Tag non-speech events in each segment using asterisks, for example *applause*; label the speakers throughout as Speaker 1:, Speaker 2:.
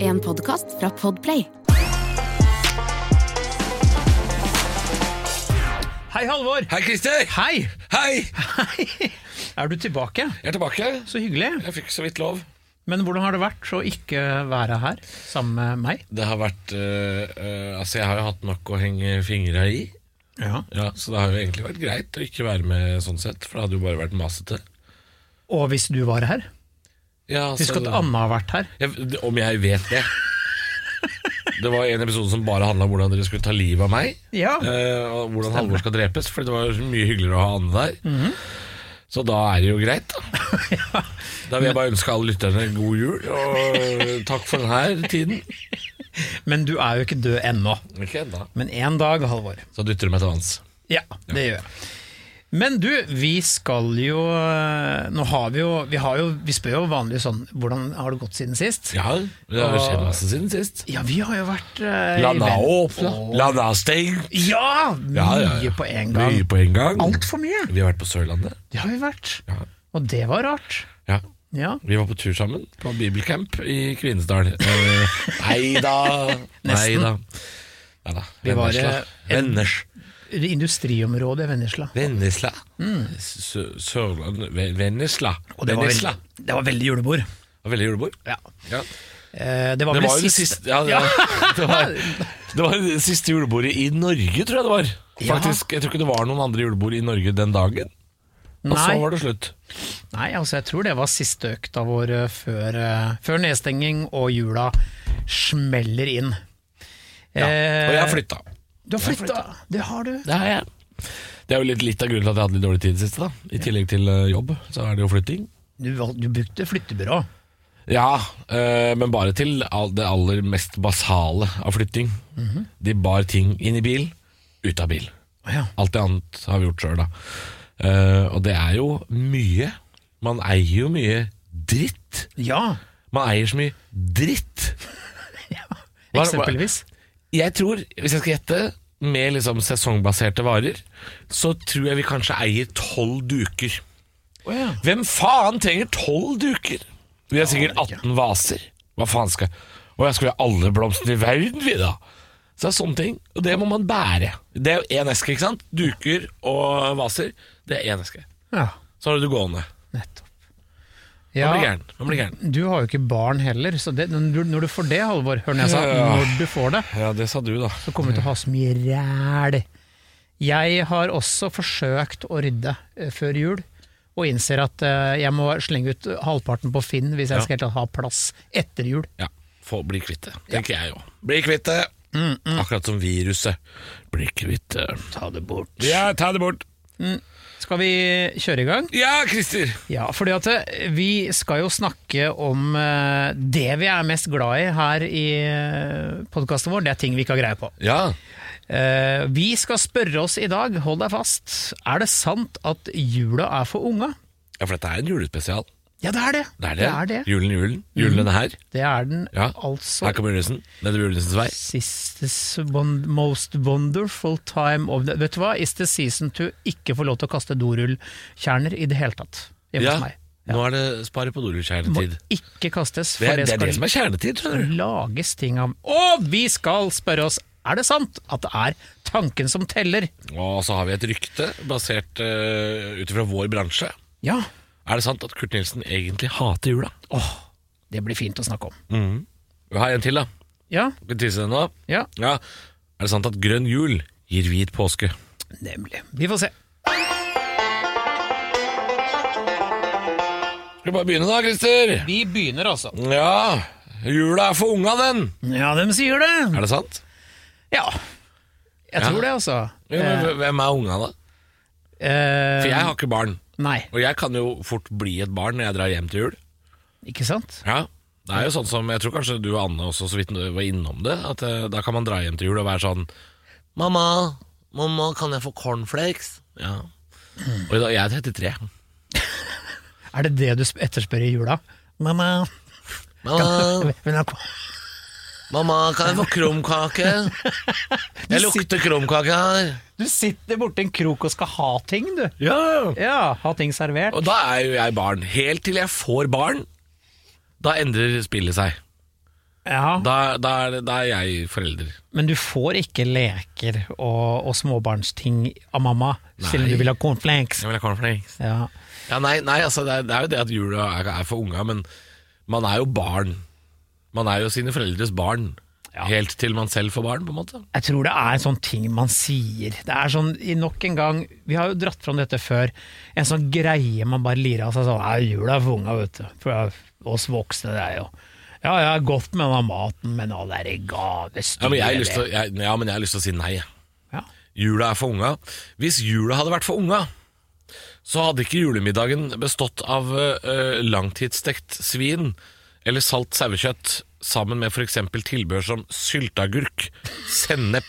Speaker 1: en podkast fra Podplay.
Speaker 2: Hei, Halvor!
Speaker 3: Hei, Christer!
Speaker 2: Hei!
Speaker 3: Hei!
Speaker 2: Hei! Er du tilbake?
Speaker 3: Jeg er tilbake.
Speaker 2: Så hyggelig.
Speaker 3: Jeg fikk så vidt lov.
Speaker 2: Men hvordan har det vært å ikke være her sammen med meg?
Speaker 3: Det har vært øh, øh, Altså, jeg har jo hatt nok å henge fingra i.
Speaker 2: Ja.
Speaker 3: Ja, Så det har jo egentlig vært greit å ikke være med sånn sett, for det hadde jo bare vært masete.
Speaker 2: Og hvis du var her?
Speaker 3: Ja, altså,
Speaker 2: Husk at Anna har vært her.
Speaker 3: jeg, det- Om jeg vet det Det var en episode som bare handla om hvordan dere skulle ta livet av meg.
Speaker 2: Ja.
Speaker 3: øh, og hvordan Halvor skal drepes, for det var jo mye hyggeligere å ha Anne der. Så da er det jo greit, *laughs* da. Da vil jeg bare ønske alle lytterne god jul, og takk for denne tiden.
Speaker 2: Men du er jo ikke død ennå.
Speaker 3: Ikke ennå.
Speaker 2: Men en dag, Halvor.
Speaker 3: Så dytter du meg til vanns.
Speaker 2: Ja, det gjør jeg. Men du, vi skal jo eh, Nå har vi jo Vi, har jo, vi spør jo vanlig sånn Hvordan har det gått siden sist?
Speaker 3: Ja, det har skjedd masse siden sist.
Speaker 2: Ja, vi har jo vært eh, i
Speaker 3: Landa
Speaker 2: Ven-
Speaker 3: opp, landa stengt.
Speaker 2: Ja! Mye
Speaker 3: Ja, ja, ja.
Speaker 2: på en gang.
Speaker 3: Mye på en gang.
Speaker 2: Altfor mye.
Speaker 3: Vi har vært på Sørlandet.
Speaker 2: Det har vi vært.
Speaker 3: Ja.
Speaker 2: Og det var rart.
Speaker 3: Ja.
Speaker 2: Ja.
Speaker 3: Vi var på tur sammen, på bibelcamp i
Speaker 2: *laughs*
Speaker 3: Kvinesdal. Eh, Nei da. Nei da. Ja da.
Speaker 2: Vi var,
Speaker 3: Vennesla.
Speaker 2: eh, en-
Speaker 3: Venners.
Speaker 2: Det Industriområdet i Vennesla.
Speaker 3: Vennesla. Sø- Sørlandet Ve- Vennesla.
Speaker 2: Mm. Og det var,
Speaker 3: Vennesla.
Speaker 2: veldig, det var veldig julebord.
Speaker 3: Det var veldig julebord.
Speaker 2: Ja.
Speaker 3: Ja.
Speaker 2: Eh, det var
Speaker 3: Det
Speaker 2: vel
Speaker 3: var jo det
Speaker 2: siste.
Speaker 3: siste ja, det, var, det,
Speaker 2: *laughs*
Speaker 3: var, det var det siste julebordet i Norge, tror jeg det var.
Speaker 2: Ja.
Speaker 3: Faktisk, Jeg tror ikke det var noen andre julebord i Norge den dagen. Og så
Speaker 2: Nei.
Speaker 3: var det slutt.
Speaker 2: Nei, altså jeg tror det var siste økta vår eh, før, eh, før nedstenging og jula smeller inn. Eh.
Speaker 3: Og jeg har flytta.
Speaker 2: Du har flytta! Det har du.
Speaker 3: Det har jeg. Det er jo litt, litt av grunnen til at jeg hadde litt dårlig tid i det siste. da I tillegg til eh, jobb, så er det jo flytting.
Speaker 2: Du, val- du brukte flyttebyrå.
Speaker 3: Ja, eh, men bare til all- det aller mest basale av flytting.
Speaker 2: Mhm.
Speaker 3: De bar ting inn i bil, ut av bil.
Speaker 2: Å Ja.
Speaker 3: Alt det annet har vi gjort sjøl, da. Eh, og det er jo mye. Man eier jo mye dritt.
Speaker 2: ja.
Speaker 3: Man eier så mye dritt. Hva- hva-
Speaker 2: Eksempelvis.
Speaker 3: Jeg tror, hvis jeg skal gjette, med liksom sesongbaserte varer, så tror jeg vi kanskje eier tolv duker.
Speaker 2: Å ja.
Speaker 3: Hvem faen trenger tolv duker? Vi har sikkert 18 vaser. Hva faen skal Og jeg skal ha alle blomstene i verden, vi, da. Så det er sånne ting. Og det må man bære. Det er jo én eske, ikke sant? Duker og vaser, det er én eske.
Speaker 2: ja.
Speaker 3: Så har du det gående.
Speaker 2: Nettopp.
Speaker 3: Man
Speaker 2: Ja,
Speaker 3: blir gæren. Man blir gæren.
Speaker 2: du har jo ikke barn heller, så det, når du- når du får det, Halvor Hør når jeg sa
Speaker 3: Ja.
Speaker 2: når du får det,
Speaker 3: Ja, det sa du, da.
Speaker 2: så kommer du til å ha så mye ræl. Jeg har også forsøkt å rydde eh, før jul, og innser at eh, jeg må slenge ut halvparten på Finn hvis jeg
Speaker 3: Ja.
Speaker 2: skal helt tatt ha plass etter jul.
Speaker 3: Ja, få bli kvitt det, tenker jeg òg. Bli kvitt det! Akkurat som viruset. Bli kvitt det.
Speaker 2: Mm, Ta det bort.
Speaker 3: Ja, ta det bort.
Speaker 2: Skal vi kjøre i gang?
Speaker 3: Ja, Christer!
Speaker 2: Ja, fordi at eh, vi skal jo snakke om eh, det vi er mest glad i her i podkasten vår. Det er ting vi ikke har greie på.
Speaker 3: Ja.
Speaker 2: Eh, Vi skal spørre oss i dag, hold deg fast, er det sant at jula er for unga?
Speaker 3: ja, for dette er en julespesial.
Speaker 2: Ja, det er det.
Speaker 3: Det er det.
Speaker 2: Det er, det. Mm.
Speaker 3: Julen, julen. Julen denne her.
Speaker 2: Det er den
Speaker 3: Ja.
Speaker 2: altså.
Speaker 3: Her kommer julenissen. Nede ved julenissens vei.
Speaker 2: This is one most wonderful time of the Vet du hva, is the season to ikke få lov til å kaste dorullkjerner i det hele tatt. Hjemme
Speaker 3: Ja.
Speaker 2: hos meg.
Speaker 3: Nå er det spare på
Speaker 2: Må
Speaker 3: dorullkjernetid.
Speaker 2: ikke kastes,
Speaker 3: Det
Speaker 2: for
Speaker 3: er det, er
Speaker 2: skal
Speaker 3: det som er kjernetid, skjønner du.
Speaker 2: lages ting av. Og vi skal spørre oss, er det sant at det er tanken som teller?
Speaker 3: Og så har vi et rykte basert uh, ut ifra vår bransje.
Speaker 2: Ja.
Speaker 3: Er det sant at Kurt Nilsen egentlig hater jula?
Speaker 2: Åh, det blir fint å snakke om.
Speaker 3: Vi har en til, da.
Speaker 2: Ja,
Speaker 3: Skal vi tisse den nå?
Speaker 2: ja,
Speaker 3: Ja. Er det sant at grønn jul gir hvit påske?
Speaker 2: nemlig. Vi får se.
Speaker 3: Skal vi bare begynne da, Christer?
Speaker 2: Vi begynner altså.
Speaker 3: Ja, jula er for unga, den.
Speaker 2: Ja, de sier det.
Speaker 3: Er det sant?
Speaker 2: Ja. Jeg
Speaker 3: Ja.
Speaker 2: tror det, altså.
Speaker 3: Ja, men hvem er unga, da?
Speaker 2: Eh,
Speaker 3: For jeg har ikke barn.
Speaker 2: Nei,
Speaker 3: Og jeg kan jo fort bli et barn når jeg drar hjem til jul.
Speaker 2: ikke sant?
Speaker 3: Ja, det er jo sånn som Jeg tror kanskje du og Anne også så vidt var innom det. At eh, Da kan man dra hjem til jul og være sånn Mamma, mamma, kan jeg få cornflakes? Ja. Og i dag, jeg er 33.
Speaker 2: Er det det du sp- etterspør i jula? Mamma,
Speaker 3: Mamma,
Speaker 2: vil du ha ko-
Speaker 3: mamma kan jeg få *laughs* krumkake? Jeg lukter krumkake her.
Speaker 2: Du sitter borti en krok og skal ha ting, du.
Speaker 3: Ja,
Speaker 2: Ja, ha ting servert.
Speaker 3: Og da er jo jeg barn. Helt til jeg får barn, da endrer spillet seg.
Speaker 2: Ja,
Speaker 3: Da, da, er, det- da er jeg forelder.
Speaker 2: Men du får ikke leker og, og småbarnsting av mamma, selv om
Speaker 3: Nei.
Speaker 2: du vil ha cornflakes.
Speaker 3: Jeg vil ha cornflakes.
Speaker 2: Ja.
Speaker 3: Ja, nei, nei altså, det, er, det er jo det at jula er, er for unga, men man er jo barn. Man er jo sine foreldres barn. Helt til man selv får barn, på en måte.
Speaker 2: Jeg tror det er en sånn ting man sier. Det er sånn, i nok en gang, Vi har jo dratt fram dette før. En sånn greie man bare lirer av seg sånn «Nei, Jula er for unga, vet du. For oss voksne, det er jo Ja, jeg er godt med den maten, men all derre gavestyret
Speaker 3: Ja, men jeg har lyst til å, jeg, ja, men jeg har lyst til å si nei. jeg.
Speaker 2: ja.
Speaker 3: Jula er for unga. Hvis jula hadde vært for unga, så hadde ikke julemiddagen bestått av eh, langtidsstekt svin eller salt sauekjøtt sammen med f.eks. tilbehør som sylteagurk, sennep,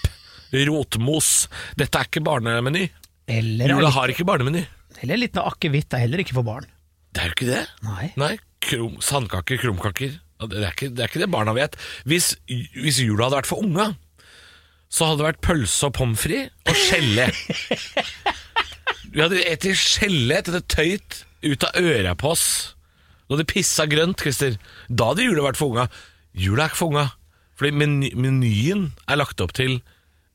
Speaker 3: rotmos. Dette er ikke barnemeny.
Speaker 2: Eller,
Speaker 3: Jula har ikke barnemeny.
Speaker 2: eller litt av akevitt er heller ikke for barn.
Speaker 3: Det er jo ikke det.
Speaker 2: Nei.
Speaker 3: krum, sandkaker, krumkaker. Det er, ikke, det er ikke det barna vet. Hvis, hvis jula hadde vært for unga, så hadde det vært pølse og pommes frites og gelé. Vi hadde spist gelé til det tøyt ut av øra på oss. Du hadde pissa grønt, Christer. Da hadde jula vært for unga. Jula er ikke for unga. Fordi meny, menyen er lagt opp til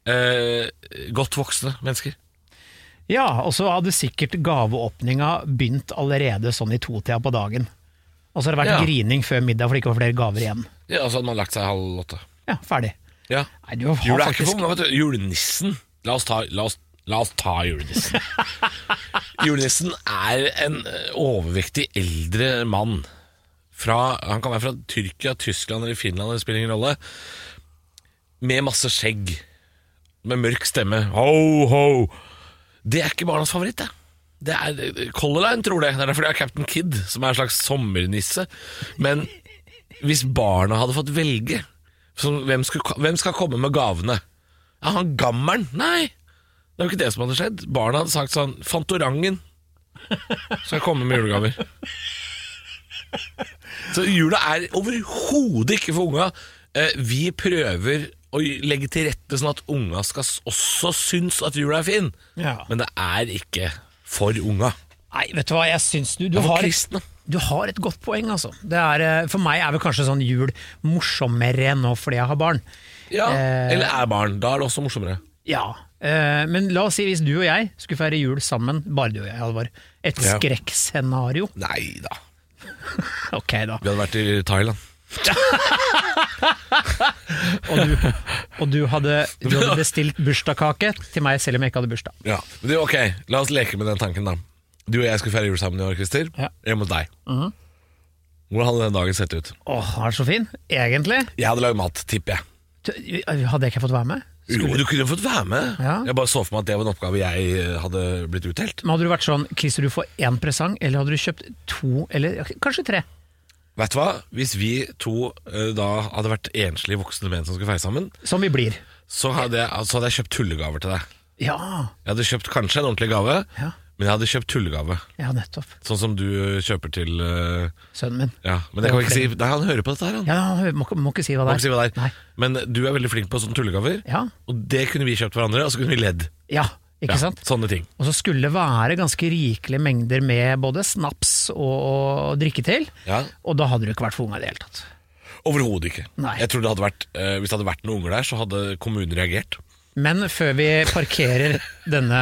Speaker 3: eh, godt voksne mennesker.
Speaker 2: Ja, og så hadde sikkert gaveåpninga begynt allerede sånn i totida på dagen. Og så har det vært
Speaker 3: Ja.
Speaker 2: grining før middag for det ikke var flere gaver igjen.
Speaker 3: Ja, Og så hadde man lagt seg halv åtte.
Speaker 2: Ja, ferdig.
Speaker 3: Ja.
Speaker 2: Nei, du har
Speaker 3: Jula er ikke
Speaker 2: faktisk
Speaker 3: for unge, vet du. Julenissen. La oss ta, la oss, la oss ta julenissen. julenissen er en eh, overvektig eldre mann. Fra, han kan være fra Tyrkia, Tyskland eller Finland, det spiller ingen rolle. Med masse skjegg. Med mørk stemme. Ho, ho! Det er ikke barnas favoritt, det. Det er eh, Color Line tror det. Det er derfor de har Captain Kid, som er en slags sommernisse. Men hvis barna hadde fått velge sånn, hvem, skulle, hvem skal komme med gavene? Ja, han gammelen? Nei! Det er jo ikke det som hadde skjedd. Barna hadde sagt sånn Fantorangen skal komme med julegaver. Så jula er overhodet ikke for unga. Eh, Vi prøver å legge til rette sånn at unga skal s- også synes at jula er fin,
Speaker 2: Ja.
Speaker 3: men det er ikke for unga.
Speaker 2: Nei, vet du hva, jeg syns du, du
Speaker 3: Det er
Speaker 2: har
Speaker 3: for
Speaker 2: et,
Speaker 3: kristne.
Speaker 2: du har et godt poeng, altså. Det er, eh, for meg er vel kanskje sånn jul morsommere nå fordi jeg har barn.
Speaker 3: Ja,
Speaker 2: Eh.
Speaker 3: Eller er barn. Da er det også morsommere.
Speaker 2: Ja. eh, Men la oss si hvis du og jeg skulle feire jul sammen, bare du og jeg, Halvor. Et
Speaker 3: Ja.
Speaker 2: skrekkscenario.
Speaker 3: Nei da.
Speaker 2: Ok,
Speaker 3: *laughs*
Speaker 2: da.
Speaker 3: Vi hadde vært i Thailand.
Speaker 2: Og du, og du, hadde, du hadde bestilt bursdagskake til meg selv om jeg ikke hadde bursdag.
Speaker 3: Ja, men det er ok, La oss leke med den tanken, da. Du og jeg skulle feire jul sammen i år, Christer.
Speaker 2: Ja. Mhm.
Speaker 3: Hjemme hos deg. Hvordan hadde den dagen sett ut?
Speaker 2: Åh, han er så fin, egentlig.
Speaker 3: Jeg hadde lagd mat, tipper jeg.
Speaker 2: Du, Hadde jeg ikke fått være med?
Speaker 3: Jo, du kunne fått være med.
Speaker 2: Ja.
Speaker 3: Jeg bare så for meg at det var en oppgave jeg eh, hadde blitt utdelt.
Speaker 2: Men hadde du vært sånn, Christer du får én presang, eller hadde du kjøpt to, eller kanskje tre?
Speaker 3: Vet du hva? Hvis vi to eh, da hadde vært enslige voksne menn som skulle feire sammen,
Speaker 2: Som vi blir.
Speaker 3: så hadde, jeg, så hadde jeg kjøpt tullegaver til deg.
Speaker 2: Ja,
Speaker 3: Jeg hadde kjøpt kanskje en ordentlig gave,
Speaker 2: Ja.
Speaker 3: men jeg hadde kjøpt tullegave.
Speaker 2: ja nettopp.
Speaker 3: Sånn som du kjøper til eh,
Speaker 2: Sønnen min.
Speaker 3: Ja, men det kan vi ikke si. Nei, han hører på dette her, han.
Speaker 2: Ja, hø- må, ikke- må ikke si hva
Speaker 3: Må
Speaker 2: det er.
Speaker 3: ikke si hva det er.
Speaker 2: Nei.
Speaker 3: Men du er veldig flink på sånne tullegaver.
Speaker 2: Ja,
Speaker 3: Og det kunne vi kjøpt hverandre, og så kunne vi ledd.
Speaker 2: ja ikke
Speaker 3: Ja,
Speaker 2: sant?
Speaker 3: Sånne ting.
Speaker 2: Og så skulle det være ganske rikelige mengder med både snaps og, og drikke til.
Speaker 3: Ja.
Speaker 2: Og da hadde du ikke vært for unga i det hele tatt.
Speaker 3: Overhodet ikke.
Speaker 2: Nei.
Speaker 3: Jeg tror det hadde vært, eh, Hvis det hadde vært noen unger der, så hadde kommunen reagert.
Speaker 2: Men før vi parkerer *laughs* denne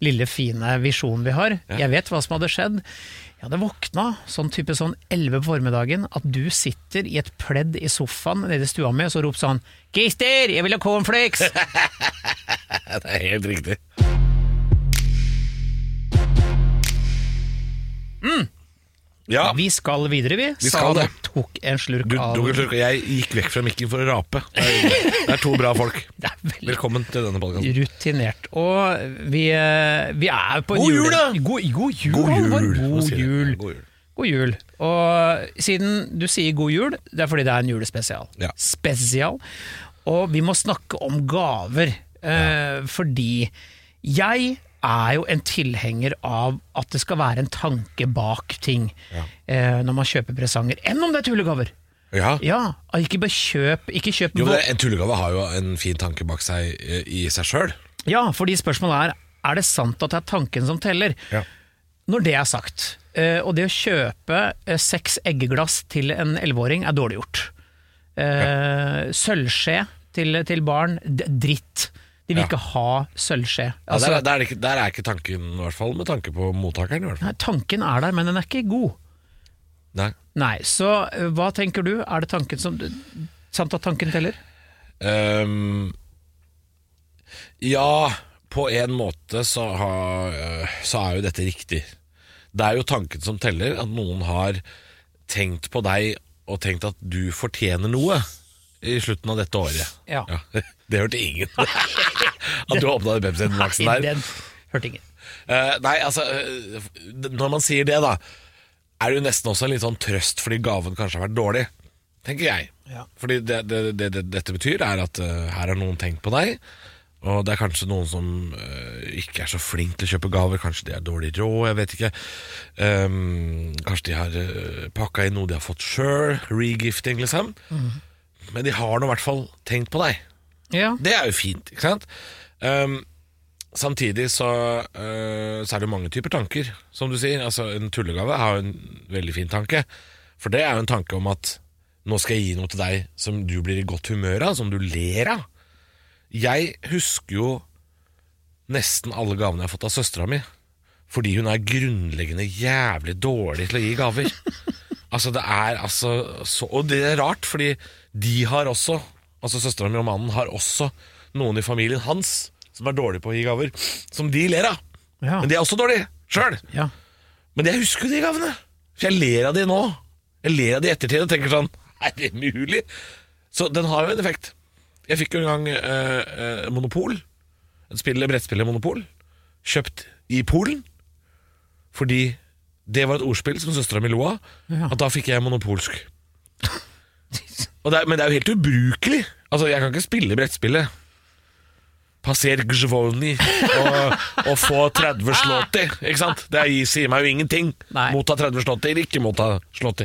Speaker 2: lille fine visjonen vi har, jeg vet hva som hadde skjedd. Jeg hadde våkna sånn type sånn 11 på formiddagen, at du sitter i et pledd i sofaen nede i stua mi, og så roper sånn 'Christer, jeg vil ha cornflakes!'
Speaker 3: Ja, det er helt riktig. Ja,
Speaker 2: Mm. Vi skal videre, vi.
Speaker 3: Vi skal
Speaker 2: Sa han
Speaker 3: det.
Speaker 2: og tok en slurk
Speaker 3: du,
Speaker 2: av
Speaker 3: Douglas Lurk og jeg gikk vekk fra mikken for å rape. Det er, det er to bra folk.
Speaker 2: Det er veldig
Speaker 3: Velkommen til denne podkasten.
Speaker 2: rutinert. Og vi, eh, vi er på en
Speaker 3: God jul,
Speaker 2: jule-
Speaker 3: da!
Speaker 2: God, god jul!
Speaker 3: God jul!
Speaker 2: Halvor.
Speaker 3: Nå
Speaker 2: God
Speaker 3: sier jeg det.
Speaker 2: jul.
Speaker 3: Ja, god jul.
Speaker 2: God jul. Og siden du sier god jul, det er fordi det er en julespesial.
Speaker 3: Ja.
Speaker 2: Spesial. Og vi må snakke om gaver, eh, fordi jeg er jo en tilhenger av at det skal være en tanke bak ting eh, når man kjøper presanger. Enn om det er tullegaver!
Speaker 3: Ja.
Speaker 2: Ja, ikke bare kjøp, ikke kjøp
Speaker 3: Jo, men En tullegave har jo en fin tanke bak seg eh, i seg sjøl.
Speaker 2: Ja, fordi spørsmålet er Er det sant at det er tanken som teller?
Speaker 3: Ja.
Speaker 2: Når det er sagt, eh, og det å kjøpe eh, seks eggeglass til en elleveåring er dårlig gjort. Eh, Eh, Sølvskje til, til barn, d- dritt. De vil
Speaker 3: Ja.
Speaker 2: ikke ha sølvskje.
Speaker 3: Ja,
Speaker 2: Altså,
Speaker 3: der, er- der, er det ikke, der er ikke tanken, i hvert fall med tanke på mottakeren. i hvert fall
Speaker 2: nei, tanken er der, men den er ikke god.
Speaker 3: Nei.
Speaker 2: Nei, så eh, hva tenker du? Er det tanken som Sant at tanken teller?
Speaker 3: Ehm, ja, på en måte så, har, øh, så er jo dette riktig. Det er jo tanken som teller, at noen har tenkt på deg og tenkt at du fortjener noe i slutten av dette året.
Speaker 2: Ja.
Speaker 3: *laughs* Det
Speaker 2: *laughs*
Speaker 3: hørte ingen. at du åpna den Pepsi-maksen der.
Speaker 2: den hørte ingen.
Speaker 3: Eh, nei, altså eh, Når man sier det, da, er det jo nesten også en litt sånn trøst fordi gaven kanskje har vært dårlig, tenker jeg.
Speaker 2: Ja.
Speaker 3: Fordi det, det, det, det dette betyr, er at eh, her har noen tenkt på deg. Og det er kanskje noen som eh, ikke er så flink til å kjøpe gaver. Kanskje de er dårlig råd, jeg vet ikke. Ehm, kanskje de har uh, pakka inn noe de har fått sjøl. Regifting, liksom. Men de har nå i hvert fall tenkt på deg.
Speaker 2: Ja.
Speaker 3: Det er jo fint, ikke sant? Ehm, samtidig så, eh, så er det jo mange typer tanker, som du sier. Altså, en tullegave har jo en veldig fin tanke. For det er jo en tanke om at nå skal jeg gi noe til deg som du blir i godt humør av, som du ler av. Jeg husker jo nesten alle gavene jeg har fått av søstera mi. Fordi hun er grunnleggende jævlig dårlig til å gi gaver. altså det er altså så, Og det er rart, fordi de har også Altså Søstera mi og mannen har også noen i familien hans som er dårlig på å gi gaver, som de ler av.
Speaker 2: Ja.
Speaker 3: Men de er også dårlige sjøl.
Speaker 2: ja.
Speaker 3: Men jeg husker jo de gavene. For jeg ler av de nå. Jeg ler av de i ettertid og tenker sånn *laughs* Er det mulig? Så den har jo en effekt. Jeg fikk jo en gang eh, eh, Monopol. Et spill, brettspillet Monopol. Kjøpt i Polen. Fordi det var et ordspill som søstera mi lo av.
Speaker 2: Ja.
Speaker 3: At da fikk jeg
Speaker 2: *laughs*
Speaker 3: monopolsk. Og det er, men det er jo helt ubrukelig. Altså, Jeg kan ikke spille brettspillet. Passer Gjvolny og, og få 30 slåtti. Ikke sant? Det er, sier meg jo ingenting.
Speaker 2: Nei.
Speaker 3: Motta 30 slåtti eller ikke motta slåtti.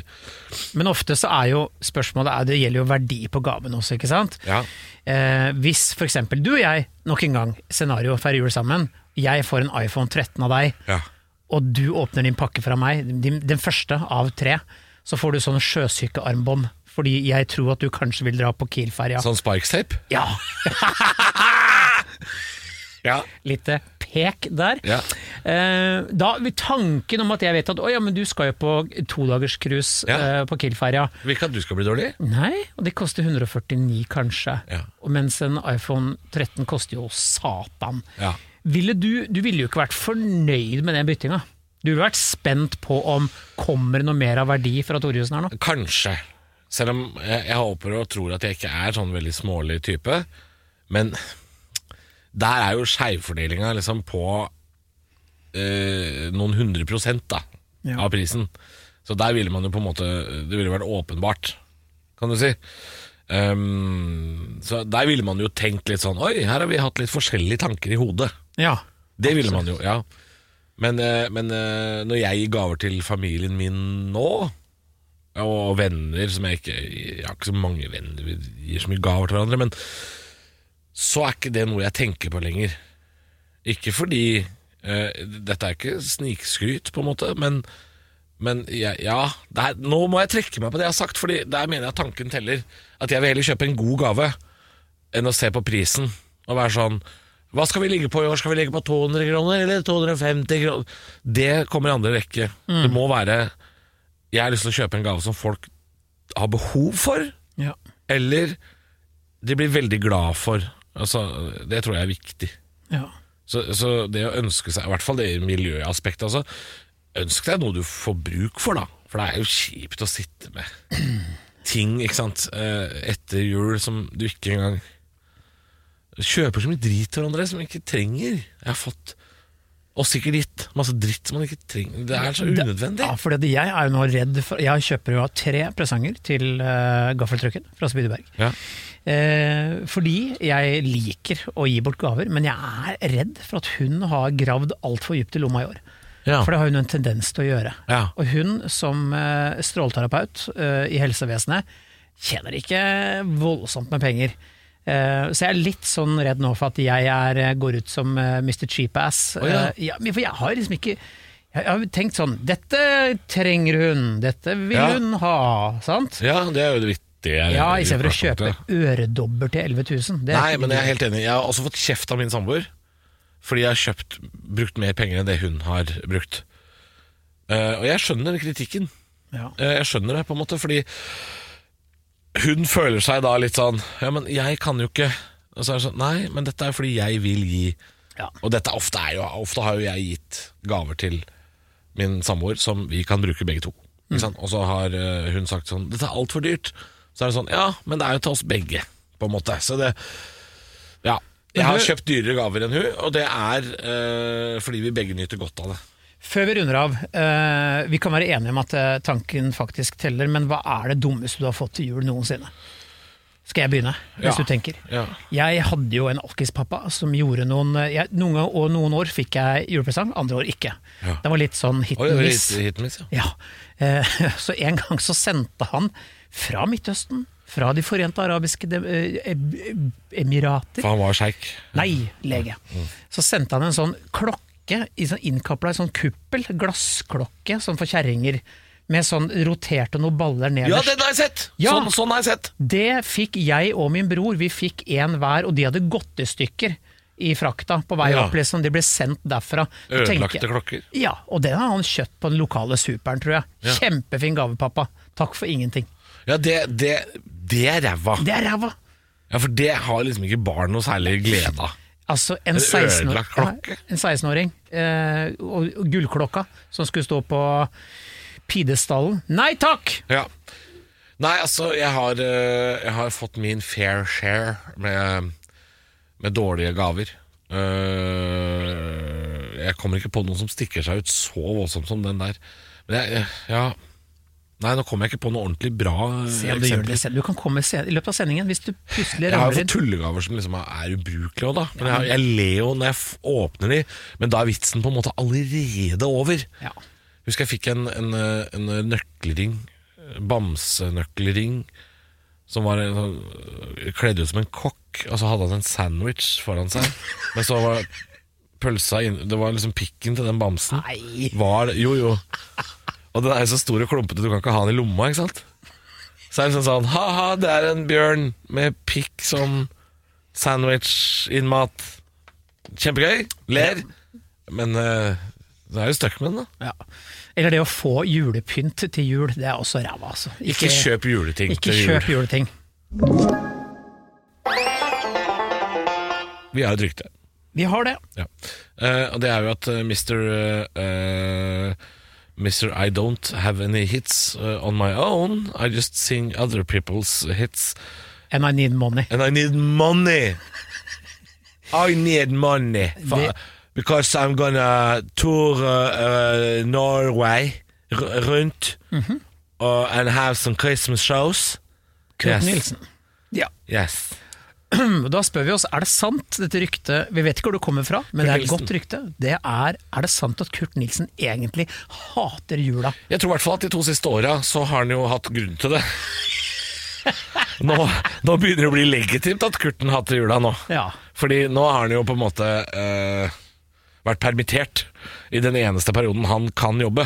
Speaker 2: Men ofte så er jo spørsmålet er, Det gjelder jo verdi på gaven også, ikke sant?
Speaker 3: Ja.
Speaker 2: Eh, hvis f.eks. du og jeg, nok en gang, scenario feirer jul sammen. Jeg får en iPhone 13 av deg,
Speaker 3: Ja.
Speaker 2: og du åpner din pakke fra meg, din, den første av tre. Så får du sånn sjøsykearmbånd, fordi jeg tror at du kanskje vil dra på Kiel-ferja.
Speaker 3: Sånn sparkstape?
Speaker 2: Ja,
Speaker 3: Ja.
Speaker 2: litt eh, pek der.
Speaker 3: Ja.
Speaker 2: Eh, da Tanken om at jeg vet at å ja, men du skal jo på todagerscruise
Speaker 3: Ja.
Speaker 2: eh, på Kiel-ferja.
Speaker 3: Vil ikke at du skal bli dårlig.
Speaker 2: Nei, og det koster 149 kanskje.
Speaker 3: Ja.
Speaker 2: Og Mens en iPhone 13 koster jo satan.
Speaker 3: Ja.
Speaker 2: Ville du, du ville jo ikke vært fornøyd med den byttinga. Du ville vært spent på om kommer det noe mer av verdi fra Torjussen her nå.
Speaker 3: Kanskje. Selv om jeg, jeg håper og tror at jeg ikke er sånn veldig smålig type. Men der er jo skjevfordelinga liksom på eh, noen hundre prosent da,
Speaker 2: Ja.
Speaker 3: av prisen. Så der ville man jo på en måte Det ville vært åpenbart, kan du si. Ehm, så der ville man jo tenkt litt sånn Oi, her har vi hatt litt forskjellige tanker i hodet.
Speaker 2: Ja.
Speaker 3: Det ville man jo, ja. Men, eh, men eh, når jeg gir gaver til familien min nå, og venner som jeg ikke Jeg har ikke så mange venner vi gir så mye gaver til hverandre, men så er ikke det noe jeg tenker på lenger. Ikke fordi eh, Dette er ikke snikskryt, på en måte, men, men jeg, ja det er, Nå må jeg trekke meg på det jeg har sagt, Fordi der mener jeg tanken teller. At jeg vil heller kjøpe en god gave enn å se på prisen og være sånn Hva skal vi ligge på i år? Skal vi ligge på 200 kroner eller 250 kroner? Det kommer i andre rekke. Det må være Jeg har lyst til å kjøpe en gave som folk har behov for,
Speaker 2: ja.
Speaker 3: eller de blir veldig glad for. Altså, det tror jeg er viktig.
Speaker 2: ja.
Speaker 3: Så, så det å ønske seg, i hvert fall det miljøaspektet altså, Ønsk deg noe du får bruk for, da. For det er jo kjipt å sitte med ting ikke sant, eh, etter jul som du ikke engang Kjøper så mye drit til hverandre som vi ikke trenger. Jeg har fått Og sikkert gitt masse dritt som man ikke trenger. Det er så unødvendig.
Speaker 2: ja for jeg er jo nå redd for Jeg kjøper jo tre presanger til uh, gaffeltrucken fra Spydeberg.
Speaker 3: Ja.
Speaker 2: Eh, fordi jeg liker å gi bort gaver, men jeg er redd for at hun har gravd altfor dypt i lomma i år.
Speaker 3: Ja.
Speaker 2: For det har hun en tendens til å gjøre.
Speaker 3: Ja.
Speaker 2: Og hun som eh, stråleterapeut eh, i helsevesenet tjener ikke voldsomt med penger. Eh, så jeg er litt sånn redd nå for at jeg er, går ut som eh, Mr. Cheapass.
Speaker 3: Å, ja.
Speaker 2: Eh, ja, men for jeg har liksom ikke Jeg har tenkt sånn Dette trenger hun, dette vil
Speaker 3: Ja.
Speaker 2: hun ha. Sant?
Speaker 3: ja, det er jo det det er
Speaker 2: Ja, i stedet for å kjøpe øredobber til 11 000. Det er
Speaker 3: Nei,
Speaker 2: ikke
Speaker 3: men
Speaker 2: noe
Speaker 3: jeg er helt enig. Jeg har også fått kjeft av min samboer. Fordi jeg har kjøpt, brukt mer penger enn det hun har brukt. Eh, og jeg skjønner kritikken.
Speaker 2: gøy. ja.
Speaker 3: Eh, jeg skjønner det, på en måte, fordi hun føler seg da litt sånn Ja, men jeg kan jo ikke Og så er det sånn Nei, men dette er jo fordi jeg vil gi.
Speaker 2: Ja.
Speaker 3: Og dette ofte er jo Ofte har jo jeg gitt gaver til min samboer som vi kan bruke begge to.
Speaker 2: Mm.
Speaker 3: Ikke sant? Og så har eh, hun sagt sånn Dette er altfor dyrt. Så er det sånn Ja, men det er jo til oss begge, på en måte. Så det Ja. Jeg har
Speaker 2: du-
Speaker 3: kjøpt dyrere gaver enn hun, og det er eh, fordi vi begge nyter godt av det.
Speaker 2: Før vi runder av, eh, vi kan være enige om at eh, tanken faktisk teller, men hva er det dummeste du har fått til jul noensinne? Skal jeg begynne, hvis
Speaker 3: Ja.
Speaker 2: du tenker?
Speaker 3: Ja.
Speaker 2: Jeg hadde jo en alkispappa som gjorde noen eh, jeg, Noen, år- og noen år fikk jeg julepresang, andre år ikke.
Speaker 3: Ja.
Speaker 2: Det var litt sånn hit
Speaker 3: Oi,
Speaker 2: and miss.
Speaker 3: hit, hit miss, ja.
Speaker 2: Ja. Eh, *laughs* Så en gang så sendte han fra Midtøsten, fra De forente arabiske Dem- eh, Em- emirater
Speaker 3: For han var sjeik.
Speaker 2: Nei, lege. Så sendte han en sånn klokke i sånn innkapla i sånn kuppel, glassklokke, sånn for kjerringer, med sånn roterte noen baller
Speaker 3: Ja,
Speaker 2: nederst.
Speaker 3: den har jeg sett!
Speaker 2: Ja.
Speaker 3: Sånn, sånn har jeg sett.
Speaker 2: det... fikk jeg og min bror, vi fikk én hver, og de hadde gått i stykker i frakta på vei
Speaker 3: Ja.
Speaker 2: opp, liksom. De ble sendt derfra. Så tenker
Speaker 3: Ødelagte
Speaker 2: jeg-
Speaker 3: klokker.
Speaker 2: Ja, og den har han kjøpt på den lokale superen, tror jeg.
Speaker 3: Ja.
Speaker 2: Kjempefin gave, pappa. Takk for ingenting.
Speaker 3: Ja, det, det, det er ræva.
Speaker 2: Det er ræva!
Speaker 3: Ja, For det har liksom ikke barn noe særlig glede av.
Speaker 2: Altså, en
Speaker 3: En
Speaker 2: 16-åring
Speaker 3: ødelagt klokke?
Speaker 2: Ja, en 16-åring, eh, og og gullklokka som skulle stå på pidestallen. Nei takk!
Speaker 3: Ja. Nei, altså, jeg har, eh, jeg har fått min fair share med, med dårlige gaver. Eh, jeg kommer ikke på noen som stikker seg ut så voldsomt som den der. Men jeg, eh, ja Nei, nå kommer jeg ikke på noe ordentlig bra eh,
Speaker 2: Se om du gjør det
Speaker 3: eksempel.
Speaker 2: selv. Du kan komme sen i løpet av sendingen hvis du plutselig
Speaker 3: Jeg har jo
Speaker 2: ramler
Speaker 3: fått
Speaker 2: inn.
Speaker 3: tullegaver som liksom er ubrukelige òg, da. Men jeg, jeg ler jo når jeg f åpner de, men da er vitsen på en måte allerede over.
Speaker 2: Ja.
Speaker 3: Husker jeg fikk en, en, eh, en nøkkelring, eh, bamsenøkkelring, som var en, sånn- kledd ut som en kokk, og så hadde han en sandwich foran seg. Men så var pølsa inn, Det var liksom pikken til den bamsen.
Speaker 2: Nei.
Speaker 3: Var, jo, jo. Og den er jo så stor og klumpete, du kan ikke ha den i lomma, ikke sant? Så er det sånn sånn Ha-ha, det er en bjørn med pikk som sandwich-innmat. Kjempegøy. Ler. Men eh, det er jo stuck med den, da.
Speaker 2: Ja. Eller det å få julepynt til jul, det er også ræva, altså.
Speaker 3: Ikke kjøp juleting
Speaker 2: ikke
Speaker 3: til
Speaker 2: kjøp
Speaker 3: jul.
Speaker 2: juleting.
Speaker 3: Vi har et rykte.
Speaker 2: Vi har det.
Speaker 3: Ja. Eh, og det er jo at eh, Mr. eh, eh, Mr. I don't have any hits eh, on my own. I just sing other people's hits.
Speaker 2: And I need money.
Speaker 3: And I need money. I need money. For,
Speaker 2: Det-
Speaker 3: Because I'm gonna tour uh, uh, Norway r- rundt
Speaker 2: Mhm.
Speaker 3: og- and have some Christmas shows.
Speaker 2: Kurt
Speaker 3: Yes.
Speaker 2: Nilsen. Ja. mm,
Speaker 3: Yes.
Speaker 2: Da spør vi oss, er det sant dette ryktet Vi vet ikke hvor det kommer fra, men det er et
Speaker 3: Nilsen.
Speaker 2: godt rykte. Det er, er det sant at Kurt Nilsen egentlig hater jula?
Speaker 3: Jeg tror i hvert fall at de to siste åra så har han jo hatt grunn til det. Nå, nå begynner det å bli legitimt at Kurten hater jula nå.
Speaker 2: Ja.
Speaker 3: Fordi nå har han jo på en måte eh, vært permittert i den eneste perioden han kan jobbe.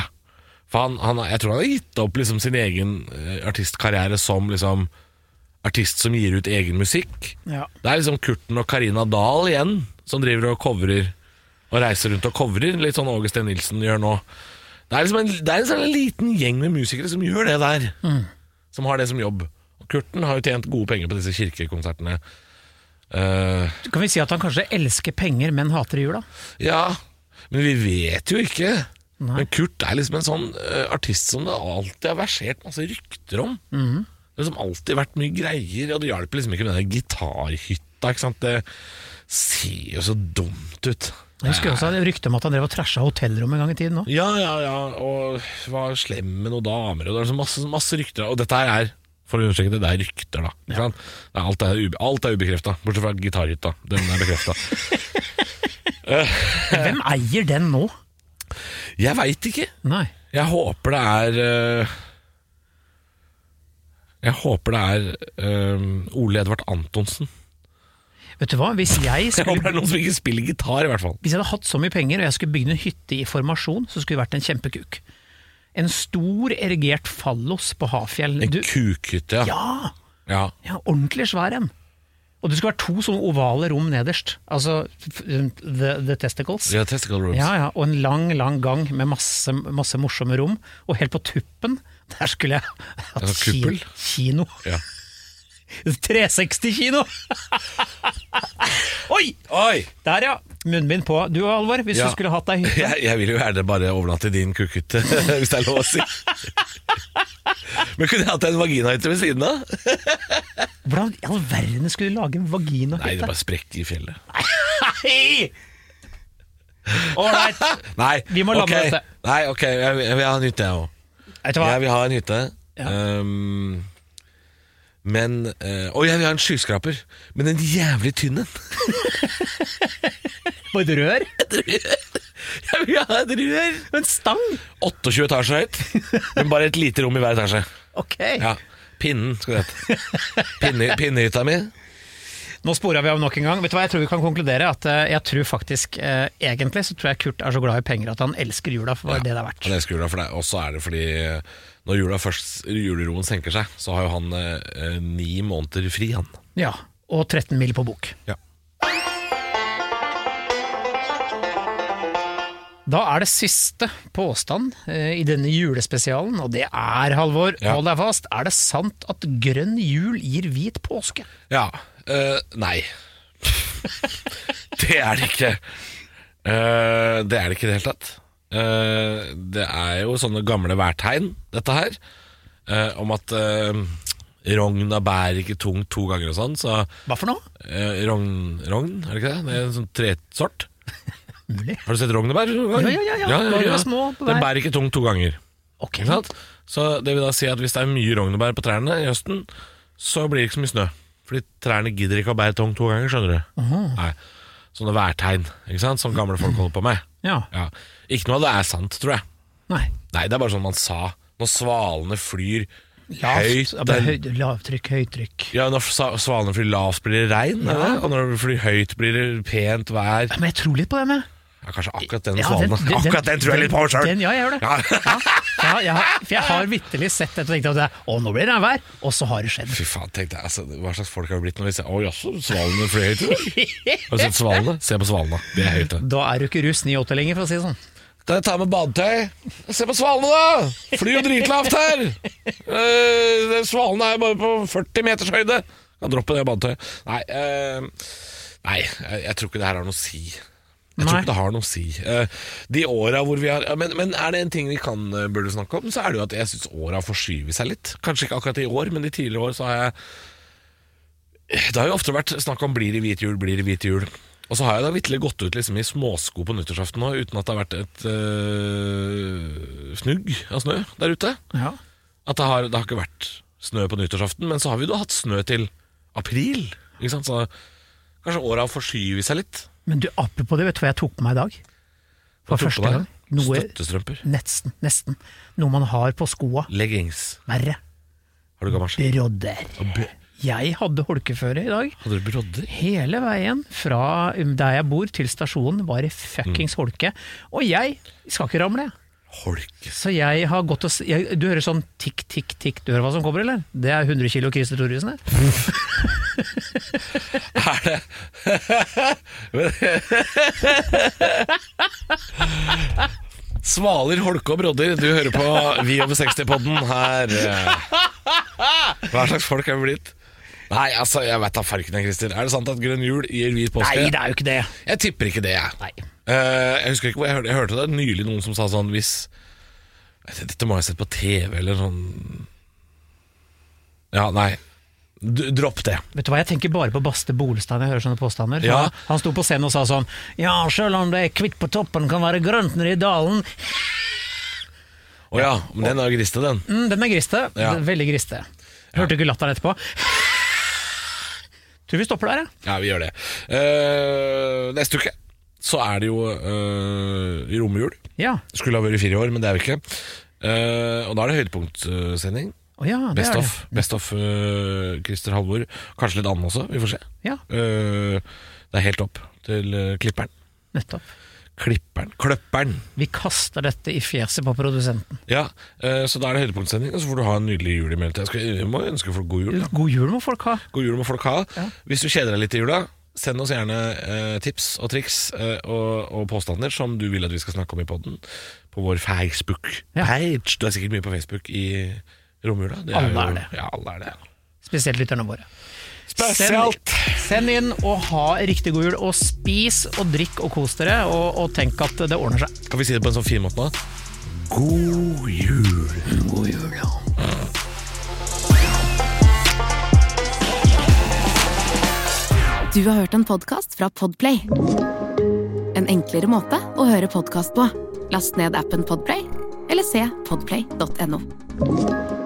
Speaker 3: For han, han, har- jeg tror han har gitt opp liksom sin egen eh, artistkarriere som liksom artist som gir ut egen musikk.
Speaker 2: Ja.
Speaker 3: Det er liksom Kurten og Karina Dahl igjen som driver og covrer og reiser rundt og covrer, litt sånn Åge Steen Nilsen gjør nå. Det er liksom en, det er en sånn liten gjeng med musikere som gjør det der, som har det som jobb. Og Kurten har jo tjent gode penger på disse kirkekonsertene. Eh,
Speaker 2: Kan vi si at han kanskje elsker penger, men hater jula?
Speaker 3: ja, men vi vet jo ikke.
Speaker 2: Nei.
Speaker 3: Men Kurt er liksom en sånn eh, artist som det alltid har versert masse rykter om. Det har liksom alltid vært mye greier, og det hjalp liksom ikke med den der gitarhytta. Ikke sant? Det ser jo så dumt ut.
Speaker 2: Jeg husker også et rykte om at han drev og trasha hotellrom en gang i tiden òg.
Speaker 3: Ja, ja, ja, og var slem med noen damer, og det er liksom masse, masse rykter. Og dette her er, for å understreke det, det er rykter, da. Ikke sant? Det er, alt, er ube, alt er ubekrefta, bortsett fra gitarhytta. Den er bekrefta.
Speaker 2: Hvem eier den nå?
Speaker 3: Jeg veit ikke.
Speaker 2: Nei.
Speaker 3: Jeg håper det er øh, Jeg håper det er øh, Ole Edvard Antonsen.
Speaker 2: Vet du hva, hvis jeg,
Speaker 3: Jeg håper det
Speaker 2: skulle,
Speaker 3: er noen som ikke spiller gitar, i hvert fall.
Speaker 2: hvis jeg hadde hatt så mye penger og jeg skulle bygd en hytte i formasjon, så skulle det vært en kjempekuk. En stor erigert fallos på Hafjell.
Speaker 3: En
Speaker 2: Du,
Speaker 3: kukhytte, ja.
Speaker 2: ja!
Speaker 3: Ja.
Speaker 2: Ja, ordentlig svær en. Og det skulle være to sånne ovale rom nederst. Altså f- the, the testicles.
Speaker 3: ja testicle rooms.
Speaker 2: Ja, ja, og en lang, lang gang med masse, masse morsomme rom. Og helt på tuppen, der skulle jeg hatt
Speaker 3: Ja, kuppel.
Speaker 2: ki- kino.
Speaker 3: Ja.
Speaker 2: 360-kino! Oi!
Speaker 3: Oi!
Speaker 2: Der, ja. Munnbind på. Du Alvor, hvis
Speaker 3: Ja.
Speaker 2: du skulle hatt deg hytte
Speaker 3: Jeg, jeg vil jo gjerne bare overnatte i din kukkhytte, *laughs* hvis det er lov å si. Men kunne jeg hatt en vaginahytte ved siden av?
Speaker 2: Hvordan i all verden skulle du lage en
Speaker 3: Nei, det
Speaker 2: vaginahytte?
Speaker 3: bare sprekker i fjellet.
Speaker 2: Hei! Ålreit.
Speaker 3: Nei,
Speaker 2: Vi må lande
Speaker 3: ok.
Speaker 2: dette.
Speaker 3: Nei, ok, jeg, vil- jeg vil ha en hytte, jeg òg.
Speaker 2: Vet du hva?
Speaker 3: Jeg vil ha en hytte.
Speaker 2: Ja.
Speaker 3: Um, men eh, Og jeg vil ha en skyskraper, men en jævlig tynn en.
Speaker 2: På et rør?
Speaker 3: *laughs* Jeg vil ha et rør!
Speaker 2: En stang?
Speaker 3: 28 etasjer høyt, men bare et lite rom i hver etasje.
Speaker 2: Ok.
Speaker 3: Ja, Pinnen, skal det hete. Pinne, pinnehytta mi.
Speaker 2: Nå spora vi av nok en gang. Vet du hva, Jeg tror vi kan konkludere at eh, jeg tror faktisk eh, Egentlig så tror jeg Kurt er så glad i penger at han elsker jula for det det er verdt.
Speaker 3: Han elsker jula for deg, og så er det fordi eh, når jula først, juleroen senker seg, så har jo han eh, eh, ni måneder fri, han.
Speaker 2: Ja. Og 13 mil på bok.
Speaker 3: Ja.
Speaker 2: Da er det siste påstand eh, i denne julespesialen, og det er, Halvor,
Speaker 3: Ja.
Speaker 2: hold deg fast, er det sant at grønn jul gir hvit påske?
Speaker 3: Ja. eh, nei. det er det ikke. Eh, det er det ikke i det hele tatt. Eh, det er jo sånne gamle værtegn, dette her, eh, om at uh, rogna bærer ikke tung to ganger og sånn. Så
Speaker 2: Hva for noe?
Speaker 3: eh, rogn, rogn, er det ikke det? Det er en sånn tresort.
Speaker 2: Mulig.
Speaker 3: Har du sett rognebær? Ja,
Speaker 2: ja, ja, ja. Rognene er små på
Speaker 3: Den
Speaker 2: vei.
Speaker 3: bærer ikke tung to ganger.
Speaker 2: Ok.
Speaker 3: Ikke sant? Så det vil da si at hvis det er mye rognebær på trærne i høsten, så blir det ikke så mye snø. Fordi trærne gidder ikke å bære tong to ganger, skjønner du. Nei. Sånne værtegn ikke sant? som gamle folk holder på med.
Speaker 2: Ja.
Speaker 3: Ja. Ikke noe av det er sant, tror jeg.
Speaker 2: Nei.
Speaker 3: Nei, det er bare sånn man sa. Når svalene flyr
Speaker 2: Lavt,
Speaker 3: høyt
Speaker 2: ja, men
Speaker 3: den-
Speaker 2: høy, lavtrykk, høytrykk.
Speaker 3: Ja, Når sa- svalene flyr lavt, blir det regn. er det det? Og når de flyr høyt, blir det pent vær.
Speaker 2: Ja, Men jeg tror litt på det med.
Speaker 3: Ja, Kanskje akkurat den
Speaker 2: Ja,
Speaker 3: svalen. Akkurat den tror jeg litt på
Speaker 2: den-
Speaker 3: sjøl.
Speaker 2: den- Ja, jeg gjør det.
Speaker 3: Ja.
Speaker 2: Ja, jeg har, for jeg har vitterlig sett dette og tenkt at det, er, å, nå blir det regnvær, og så har det skjedd.
Speaker 3: Fy faen, tenk deg, altså, hva slags folk har vi blitt når vi ser Å jaså, svalene fløy høyt i dag?» Har du sett svalene? Se på svalene. Det er høyt.
Speaker 2: Da er du ikke russ 98 lenger, for å si det sånn.
Speaker 3: Kan jeg ta med badetøy? Se på svalene, da! Flyr jo dritlavt her! Eh, det- svalene er bare på 40 meters høyde. Kan droppe det badetøyet. Nei, eh, nei jeg, jeg tror ikke det her har noe å si. Jeg tror
Speaker 2: Nei.
Speaker 3: ikke det har noe å si. Eh, de åra hvor vi har ja, men, men er det en ting vi kan eh, burde snakke om, så er det jo at jeg syns åra forskyver seg litt. Kanskje ikke akkurat i år, men i tidligere år så har jeg eh, Det har jo ofte vært snakk om blir det hvit jul, blir det hvit jul. Og så har jeg da vitterlig gått ut liksom i småsko på nyttårsaften nå, uten at det har vært et eh, fnugg av snø der ute.
Speaker 2: Ja.
Speaker 3: At det har, det har ikke vært snø på nyttårsaften, men så har vi jo da hatt snø til april. Ikke sant? Så kanskje åra forskyver seg litt.
Speaker 2: Men du, apropos det, vet du hva jeg tok på meg i dag? For
Speaker 3: Hva tok
Speaker 2: første
Speaker 3: du på deg?
Speaker 2: gang. Noe,
Speaker 3: Støttestrømper.
Speaker 2: nesten, nesten. Noe man har på skoa.
Speaker 3: Leggings.
Speaker 2: Verre.
Speaker 3: Har du gamasje?
Speaker 2: Brodder. Jeg hadde holkeføre i dag.
Speaker 3: Hadde du brodder?
Speaker 2: Hele veien fra um, der jeg bor til stasjonen var det fuckings holke. Og jeg skal ikke ramle, jeg.
Speaker 3: Holke.
Speaker 2: Så jeg har gått og s- jeg, Du hører sånn tikk, tikk, tikk Du hører hva som kommer, eller? Det er 100 kilo Christer Thoresen her.
Speaker 3: Er det Svaler, holke og brodder, du hører på Vi over 60-podden her. eh. Hva slags folk er vi blitt? Nei, altså, jeg veit da farken, jeg, Christer. Er det sant at grønn jul gir hvit påske?
Speaker 2: Nei, det er jo ikke det.
Speaker 3: Jeg tipper ikke det, jeg.
Speaker 2: Nei.
Speaker 3: Eh, jeg husker ikke hvor jeg hørte, jeg hørte det nylig noen som sa sånn hvis Dette må jeg ha sett på TV eller sånn Ja, nei. D dropp det.
Speaker 2: Vet du hva, Jeg tenker bare på Baste Bolstad når jeg hører sånne påstander.
Speaker 3: Ja.
Speaker 2: Han- Han sto på scenen og sa sånn Ja, sjøl om det er kvitt på toppen, kan være grønt nede i dalen.
Speaker 3: Å ja, men den er jo griste, den.
Speaker 2: Mm, den er griste.
Speaker 3: Ja.
Speaker 2: Veldig griste. Hørte ikke latteren etterpå. Tror vi stopper der, jeg.
Speaker 3: Ja, vi gjør det. Eh, neste uke så er det jo eh, romjul.
Speaker 2: Ja.
Speaker 3: Skulle ha vært i fire år, men det er vi ikke. Eh, og da er det høydepunktsending.
Speaker 2: Å ja, det
Speaker 3: Best
Speaker 2: er det.
Speaker 3: of, best of eh, Christer Halvor. Kanskje litt annen også, vi får se.
Speaker 2: Ja,
Speaker 3: Eh, det er helt opp til eh, klipperen.
Speaker 2: nettopp.
Speaker 3: Klipperen. Kløpperen.
Speaker 2: Vi kaster dette i fjeset på produsenten.
Speaker 3: Ja, eh, så da er det høydepunktsending, og så får du ha en nydelig jul i mellomtida. Jeg skal- Jeg må ønske folk god jul. Da.
Speaker 2: God jul må folk ha.
Speaker 3: God jul må folk ha. Hvis du kjeder deg litt i jula, send oss gjerne eh, tips og triks eh, og, og påstander som du vil at vi skal snakke om i podden på vår Facebook-page.
Speaker 2: Ja.
Speaker 3: Du er sikkert mye på Facebook i romjula. Det
Speaker 2: Alle
Speaker 3: jo-
Speaker 2: er det.
Speaker 3: Ja, alle er det.
Speaker 2: Spesielt lytterne våre.
Speaker 3: Spesielt.
Speaker 2: Send, send inn og ha riktig god jul, og spis og drikk og kos dere, og, og tenk at det ordner seg.
Speaker 3: Kan vi si det på en sånn fin måte nå? God jul.
Speaker 2: God jul, ja.
Speaker 1: Du har hørt en podcast fra Podplay En enklere måte å høre podcast på Last ned appen Podplay Eller se podplay.no